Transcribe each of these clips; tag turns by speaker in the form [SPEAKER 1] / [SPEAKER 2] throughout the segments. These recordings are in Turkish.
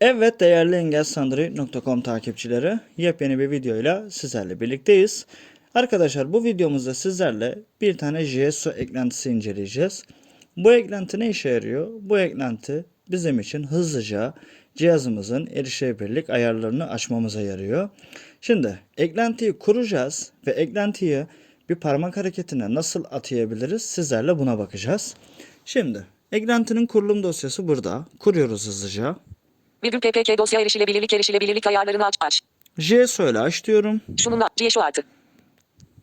[SPEAKER 1] Evet değerli engelsandri.com takipçileri yepyeni bir videoyla sizlerle birlikteyiz. Arkadaşlar bu videomuzda sizlerle bir tane JSO eklentisi inceleyeceğiz. Bu eklenti ne işe yarıyor? Bu eklenti bizim için hızlıca cihazımızın erişebilirlik ayarlarını açmamıza yarıyor. Şimdi eklentiyi kuracağız ve eklentiyi bir parmak hareketine nasıl atayabiliriz sizlerle buna bakacağız. Şimdi eklentinin kurulum dosyası burada. Kuruyoruz hızlıca.
[SPEAKER 2] Virgül PPK dosya erişilebilirlik erişilebilirlik ayarlarını aç aç.
[SPEAKER 1] J söyle aç diyorum.
[SPEAKER 2] Şununla GSO artı.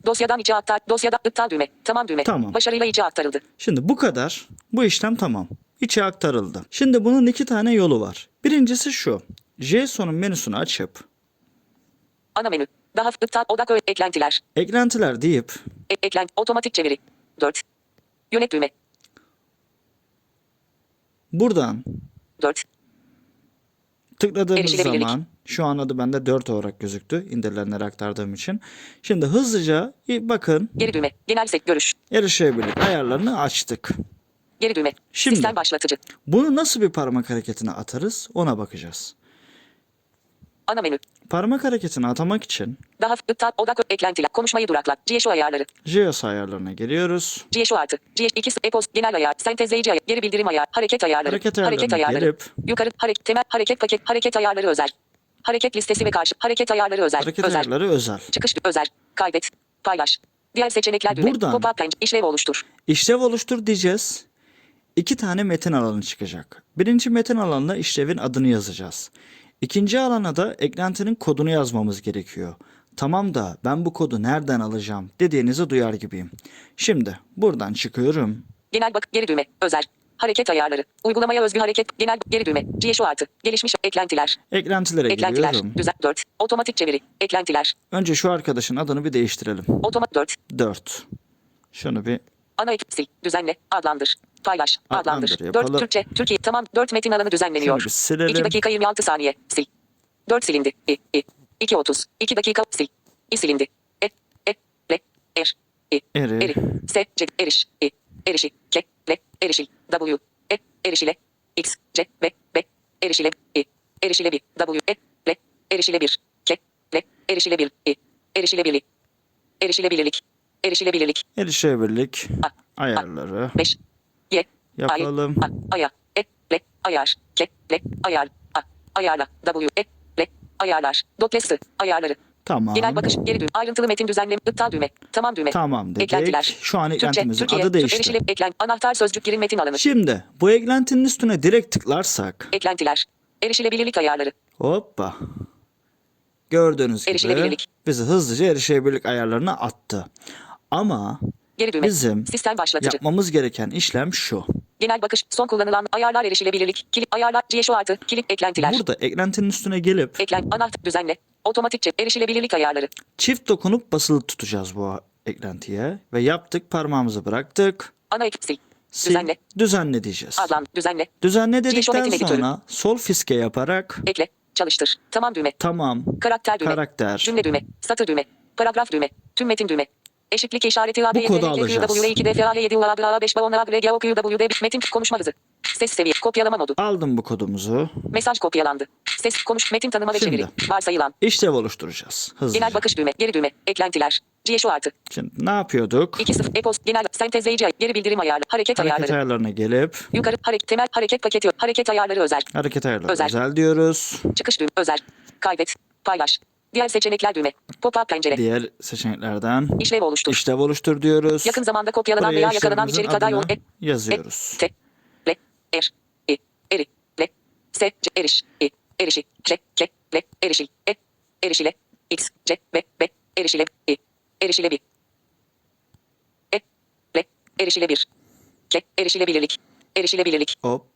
[SPEAKER 2] Dosyadan içe aktar. Dosyada iptal düğme. Tamam düğme.
[SPEAKER 1] Tamam.
[SPEAKER 2] Başarıyla içe aktarıldı.
[SPEAKER 1] Şimdi bu kadar. Bu işlem tamam. İçe aktarıldı. Şimdi bunun iki tane yolu var. Birincisi şu. JSON'un menüsünü açıp
[SPEAKER 2] Ana menü. Daha f- iptal odak ö- eklentiler.
[SPEAKER 1] eklentiler deyip
[SPEAKER 2] E- eklent otomatik çeviri. 4. Yönet düğme.
[SPEAKER 1] buradan
[SPEAKER 2] 4.
[SPEAKER 1] tıkladığımız
[SPEAKER 2] Erişilebilirlik.
[SPEAKER 1] zaman şu an adı bende 4 olarak gözüktü indirilenleri aktardığım için. Şimdi hızlıca bir bakın
[SPEAKER 2] Geri düğme. Genel sek görüş.
[SPEAKER 1] erişebilirlik ayarlarını açtık.
[SPEAKER 2] Geri düğme.
[SPEAKER 1] Şimdi.
[SPEAKER 2] Sistem başlatıcı.
[SPEAKER 1] Bunu nasıl bir parmak hareketine atarız ona bakacağız.
[SPEAKER 2] Ana menü.
[SPEAKER 1] Parmak hareketini atamak için
[SPEAKER 2] Daha f- iptal odak ö- eklentiler. Konuşmayı duraklat. GSO ayarları.
[SPEAKER 1] JS ayarlarını geliyoruz.
[SPEAKER 2] GSO artı. GS 2 e-post genel ayar. Sentezleyici ayar. Geri bildirim ayar. Hareket ayarları.
[SPEAKER 1] Hareket ayarlarına gelip-
[SPEAKER 2] Yukarı hareket temel hareket paket hareket ayarları özel. Hareket listesi ve karşı hareket ayarları özel.
[SPEAKER 1] Hareket
[SPEAKER 2] özel.
[SPEAKER 1] ayarları özel.
[SPEAKER 2] Çıkış özel. Kaydet. Paylaş. Diğer seçenekler düğme.
[SPEAKER 1] Buradan-
[SPEAKER 2] Pop-up range. İşlev oluştur.
[SPEAKER 1] İşlev oluştur diyeceğiz. İki tane metin alanı çıkacak. Birinci metin alanına işlevin adını yazacağız. İkinci alana da eklentinin kodunu yazmamız gerekiyor. Tamam da ben bu kodu nereden alacağım dediğinizi duyar gibiyim. Şimdi buradan çıkıyorum.
[SPEAKER 2] Genel bak geri düğme. Özel. Hareket ayarları. Uygulamaya özgü hareket. Genel geri düğme. GSO artı. Gelişmiş eklentiler.
[SPEAKER 1] Eklentilere
[SPEAKER 2] Eklentiler.
[SPEAKER 1] giriyorum.
[SPEAKER 2] Düzen 4. Otomatik çeviri. Eklentiler.
[SPEAKER 1] Önce şu arkadaşın adını bir değiştirelim.
[SPEAKER 2] Otomat 4.
[SPEAKER 1] 4. Şunu bir
[SPEAKER 2] Ana ek sil. Düzenle. Adlandır. Paylaş.
[SPEAKER 1] Adlandır,
[SPEAKER 2] Adlandır.
[SPEAKER 1] yapalım.
[SPEAKER 2] 4 Türkçe. Türkiye. Tamam. 4 metin alanı düzenleniyor.
[SPEAKER 1] Şunu bir silelim.
[SPEAKER 2] 2 dakika 26 saniye. Sil. 4 silindi. İ. İ. 2 30. 2 dakika. Sil. İ silindi. E. E. Le. Er. İ.
[SPEAKER 1] Eri.
[SPEAKER 2] Eri. S. C. Eriş. İ. Erişi. K. Le. Erişil. W. E. Erişile. X. C. B. B. Erişile. İ. Erişile bir. W. E. Le. Erişile bir. K. Le. Erişile bir. İ. Erişile birlik. Erişilebilirlik. Erişilebilirlik.
[SPEAKER 1] erişebilirlik
[SPEAKER 2] A.
[SPEAKER 1] ayarları.
[SPEAKER 2] 5 ye
[SPEAKER 1] Yapalım.
[SPEAKER 2] ay, a, aya ekle ayar kekle ayar a, ayarla w ekle ayarlar dotlesi ayarları
[SPEAKER 1] Tamam.
[SPEAKER 2] genel bakış geri düğme ayrıntılı metin düzenleme iptal düğme tamam düğme
[SPEAKER 1] Tamam dedik. Şu an
[SPEAKER 2] Türkçe,
[SPEAKER 1] eklentimizin
[SPEAKER 2] Türkiye,
[SPEAKER 1] adı
[SPEAKER 2] Türk-
[SPEAKER 1] değişti.
[SPEAKER 2] erişilim, eklen, anahtar sözcük girin metin alanı
[SPEAKER 1] Şimdi bu eklentinin üstüne direkt tıklarsak
[SPEAKER 2] eklentiler erişilebilirlik ayarları
[SPEAKER 1] Hoppa. Gördüğünüz gibi
[SPEAKER 2] Erişilebilirlik.
[SPEAKER 1] bizi hızlıca erişebilirlik ayarlarına attı. Ama
[SPEAKER 2] geri düğme
[SPEAKER 1] bizim
[SPEAKER 2] sistem başlatıcı
[SPEAKER 1] yapmamız gereken işlem şu.
[SPEAKER 2] genel bakış son kullanılan ayarlar erişilebilirlik kilit ayarlar GSO artı kilit eklentiler
[SPEAKER 1] Burada eklentinin üstüne gelip
[SPEAKER 2] eklen anahtar düzenle otomatik çek erişilebilirlik ayarları
[SPEAKER 1] çift dokunup basılı tutacağız bu eklentiye ve yaptık parmağımızı bıraktık.
[SPEAKER 2] ana ekip sil
[SPEAKER 1] Sil,
[SPEAKER 2] düzenle
[SPEAKER 1] düzenle diyeceğiz.
[SPEAKER 2] adlan düzenle
[SPEAKER 1] Düzenle
[SPEAKER 2] Metin
[SPEAKER 1] dedikten
[SPEAKER 2] editörü.
[SPEAKER 1] sonra sol fiske yaparak
[SPEAKER 2] Ekle. Çalıştır. Tamam düğme.
[SPEAKER 1] tamam
[SPEAKER 2] Karakter düğme.
[SPEAKER 1] Karakter.
[SPEAKER 2] Cümle düğme. Satır düğme. Paragraf düğme. Tüm metin düğme. Eşitlik işareti AB
[SPEAKER 1] Bu kodu alacağız.
[SPEAKER 2] Metin konuşma hızı. Ses seviye. Kopyalama modu.
[SPEAKER 1] aldım bu kodumuzu.
[SPEAKER 2] Mesaj kopyalandı. Ses konuş. Metin tanıma ve
[SPEAKER 1] Şimdi.
[SPEAKER 2] çeviri. Varsayılan.
[SPEAKER 1] İşlev oluşturacağız hızlıca.
[SPEAKER 2] Genel bakış düğme. Geri düğme. Eklentiler. GSO artı.
[SPEAKER 1] Şimdi ne yapıyorduk?
[SPEAKER 2] 2.0. E-post. Genel. Sentezleyici. ay- Geri bildirim ayarlı. Hareket,
[SPEAKER 1] Hareket
[SPEAKER 2] ayarları.
[SPEAKER 1] ayarlarına gelip
[SPEAKER 2] Yukarı. Hareket. Temel. Hareket paketi. Hareket ayarları özel.
[SPEAKER 1] Hareket ayarları özel,
[SPEAKER 2] Özel.
[SPEAKER 1] diyoruz.
[SPEAKER 2] Çıkış düğme. Özel. Kaydet. Paylaş. Diğer seçenekler düğme. Pop-up pencere.
[SPEAKER 1] Diğer seçeneklerden
[SPEAKER 2] İşlev E, oluştur.
[SPEAKER 1] işlev oluştur diyoruz.
[SPEAKER 2] Yakın zamanda kopyalanan
[SPEAKER 1] Buraya
[SPEAKER 2] veya yakalanan
[SPEAKER 1] işlemimizin
[SPEAKER 2] içerik aday ol.
[SPEAKER 1] adını yazıyoruz.
[SPEAKER 2] E, T, L, Er, İ, Eri, L, S, C, Eriş, İ, Erişi, C, K, L, Erişil, E, Erişile, X, C, B, B, Erişile, İ, Erişile 1, E, L, Erişile 1, K, Erişilebilirlik, Erişilebilirlik,
[SPEAKER 1] Hoppa.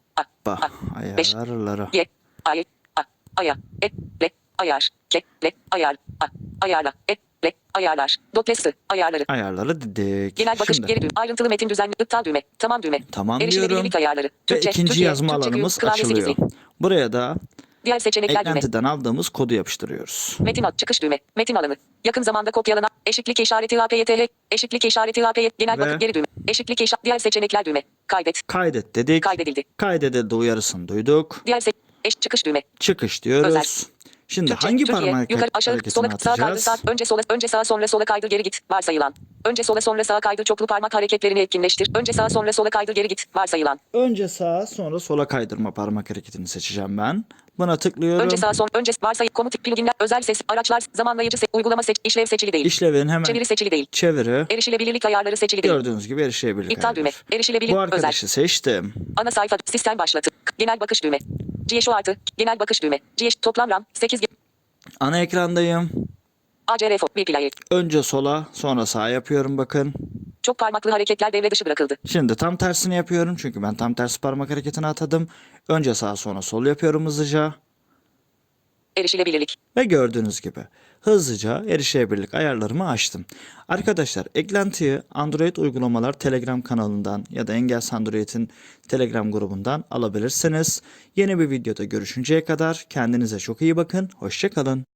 [SPEAKER 2] A, beş.
[SPEAKER 1] Ayarlara.
[SPEAKER 2] Y, Ay, A, Aya, E, L, Ayar, K, L, Ayar, A, Ayarla, E, L, Ayarlar, Dotlesi, Ayarları.
[SPEAKER 1] Ayarları dedik.
[SPEAKER 2] Genel bakış
[SPEAKER 1] Şimdi
[SPEAKER 2] geri düğme, ayrıntılı metin düzenli, iptal düğme, tamam düğme.
[SPEAKER 1] Tamam diyorum.
[SPEAKER 2] Erişilebilirlik ayarları.
[SPEAKER 1] ve ikinci yazma
[SPEAKER 2] Türkçe
[SPEAKER 1] alanımız
[SPEAKER 2] klavye
[SPEAKER 1] açılıyor.
[SPEAKER 2] sekizli.
[SPEAKER 1] Buraya da
[SPEAKER 2] Diğer seçenekler düğme.
[SPEAKER 1] eklentiden aldığımız kodu yapıştırıyoruz.
[SPEAKER 2] Metin alt çıkış düğme. Metin alanı. Yakın zamanda kopyalanan eşitlik işareti APYTH. Eşitlik işareti APY. Genel
[SPEAKER 1] Ve-
[SPEAKER 2] bakış geri düğme. Eşitlik işareti. Diğer seçenekler düğme. Kaydet.
[SPEAKER 1] Kaydet dedik.
[SPEAKER 2] Kaydedildi.
[SPEAKER 1] Kaydedildi uyarısını duyduk.
[SPEAKER 2] Diğer se Eş çıkış düğme.
[SPEAKER 1] Çıkış diyoruz.
[SPEAKER 2] Özel.
[SPEAKER 1] Şimdi
[SPEAKER 2] Türkçe,
[SPEAKER 1] E, hangi
[SPEAKER 2] Türkiye,
[SPEAKER 1] parmak
[SPEAKER 2] yukarı aşağı
[SPEAKER 1] hareketini
[SPEAKER 2] sola sağ kaydı
[SPEAKER 1] atacağız?
[SPEAKER 2] sağ önce sola önce sağa sonra sola kaydır geri git varsayılan. Önce sola sonra sağa kaydır çoklu parmak hareketlerini etkinleştir. Önce sağa sonra sola kaydır geri git varsayılan.
[SPEAKER 1] Önce sağa sonra sola kaydırma parmak hareketini seçeceğim ben. Buna tıklıyorum.
[SPEAKER 2] Önce sağa son önce varsay komut bilginler özel ses araçlar araçlar, se uygulama seç işlev seçili değil.
[SPEAKER 1] İşlevin hemen
[SPEAKER 2] Çeviri seçili değil.
[SPEAKER 1] çeviri.
[SPEAKER 2] Erişilebilirlik ayarları seçili değil.
[SPEAKER 1] Gördüğünüz gibi erişebilir.
[SPEAKER 2] İptal düğme.
[SPEAKER 1] Bu
[SPEAKER 2] Erişilebilir özel.
[SPEAKER 1] arkadaşı seçtim.
[SPEAKER 2] Ana sayfa sistem başlatı. Genel bakış düğme. GSO artı. Genel bakış düğme. GS toplam RAM 8 GB.
[SPEAKER 1] Ana ekrandayım.
[SPEAKER 2] ACRFO. Bir player.
[SPEAKER 1] Önce sola sonra sağa yapıyorum bakın.
[SPEAKER 2] Çok parmaklı hareketler devre dışı bırakıldı.
[SPEAKER 1] Şimdi tam tersini yapıyorum çünkü ben tam tersi parmak hareketini atadım. Önce sağ sonra sol yapıyorum hızlıca.
[SPEAKER 2] Erişilebilirlik.
[SPEAKER 1] Ve gördüğünüz gibi hızlıca erişebilirlik ayarlarımı açtım. Arkadaşlar eklentiyi Android uygulamalar Telegram kanalından ya da Engels Android'in Telegram grubundan alabilirsiniz. Yeni bir videoda görüşünceye kadar kendinize çok iyi bakın. Hoşçakalın.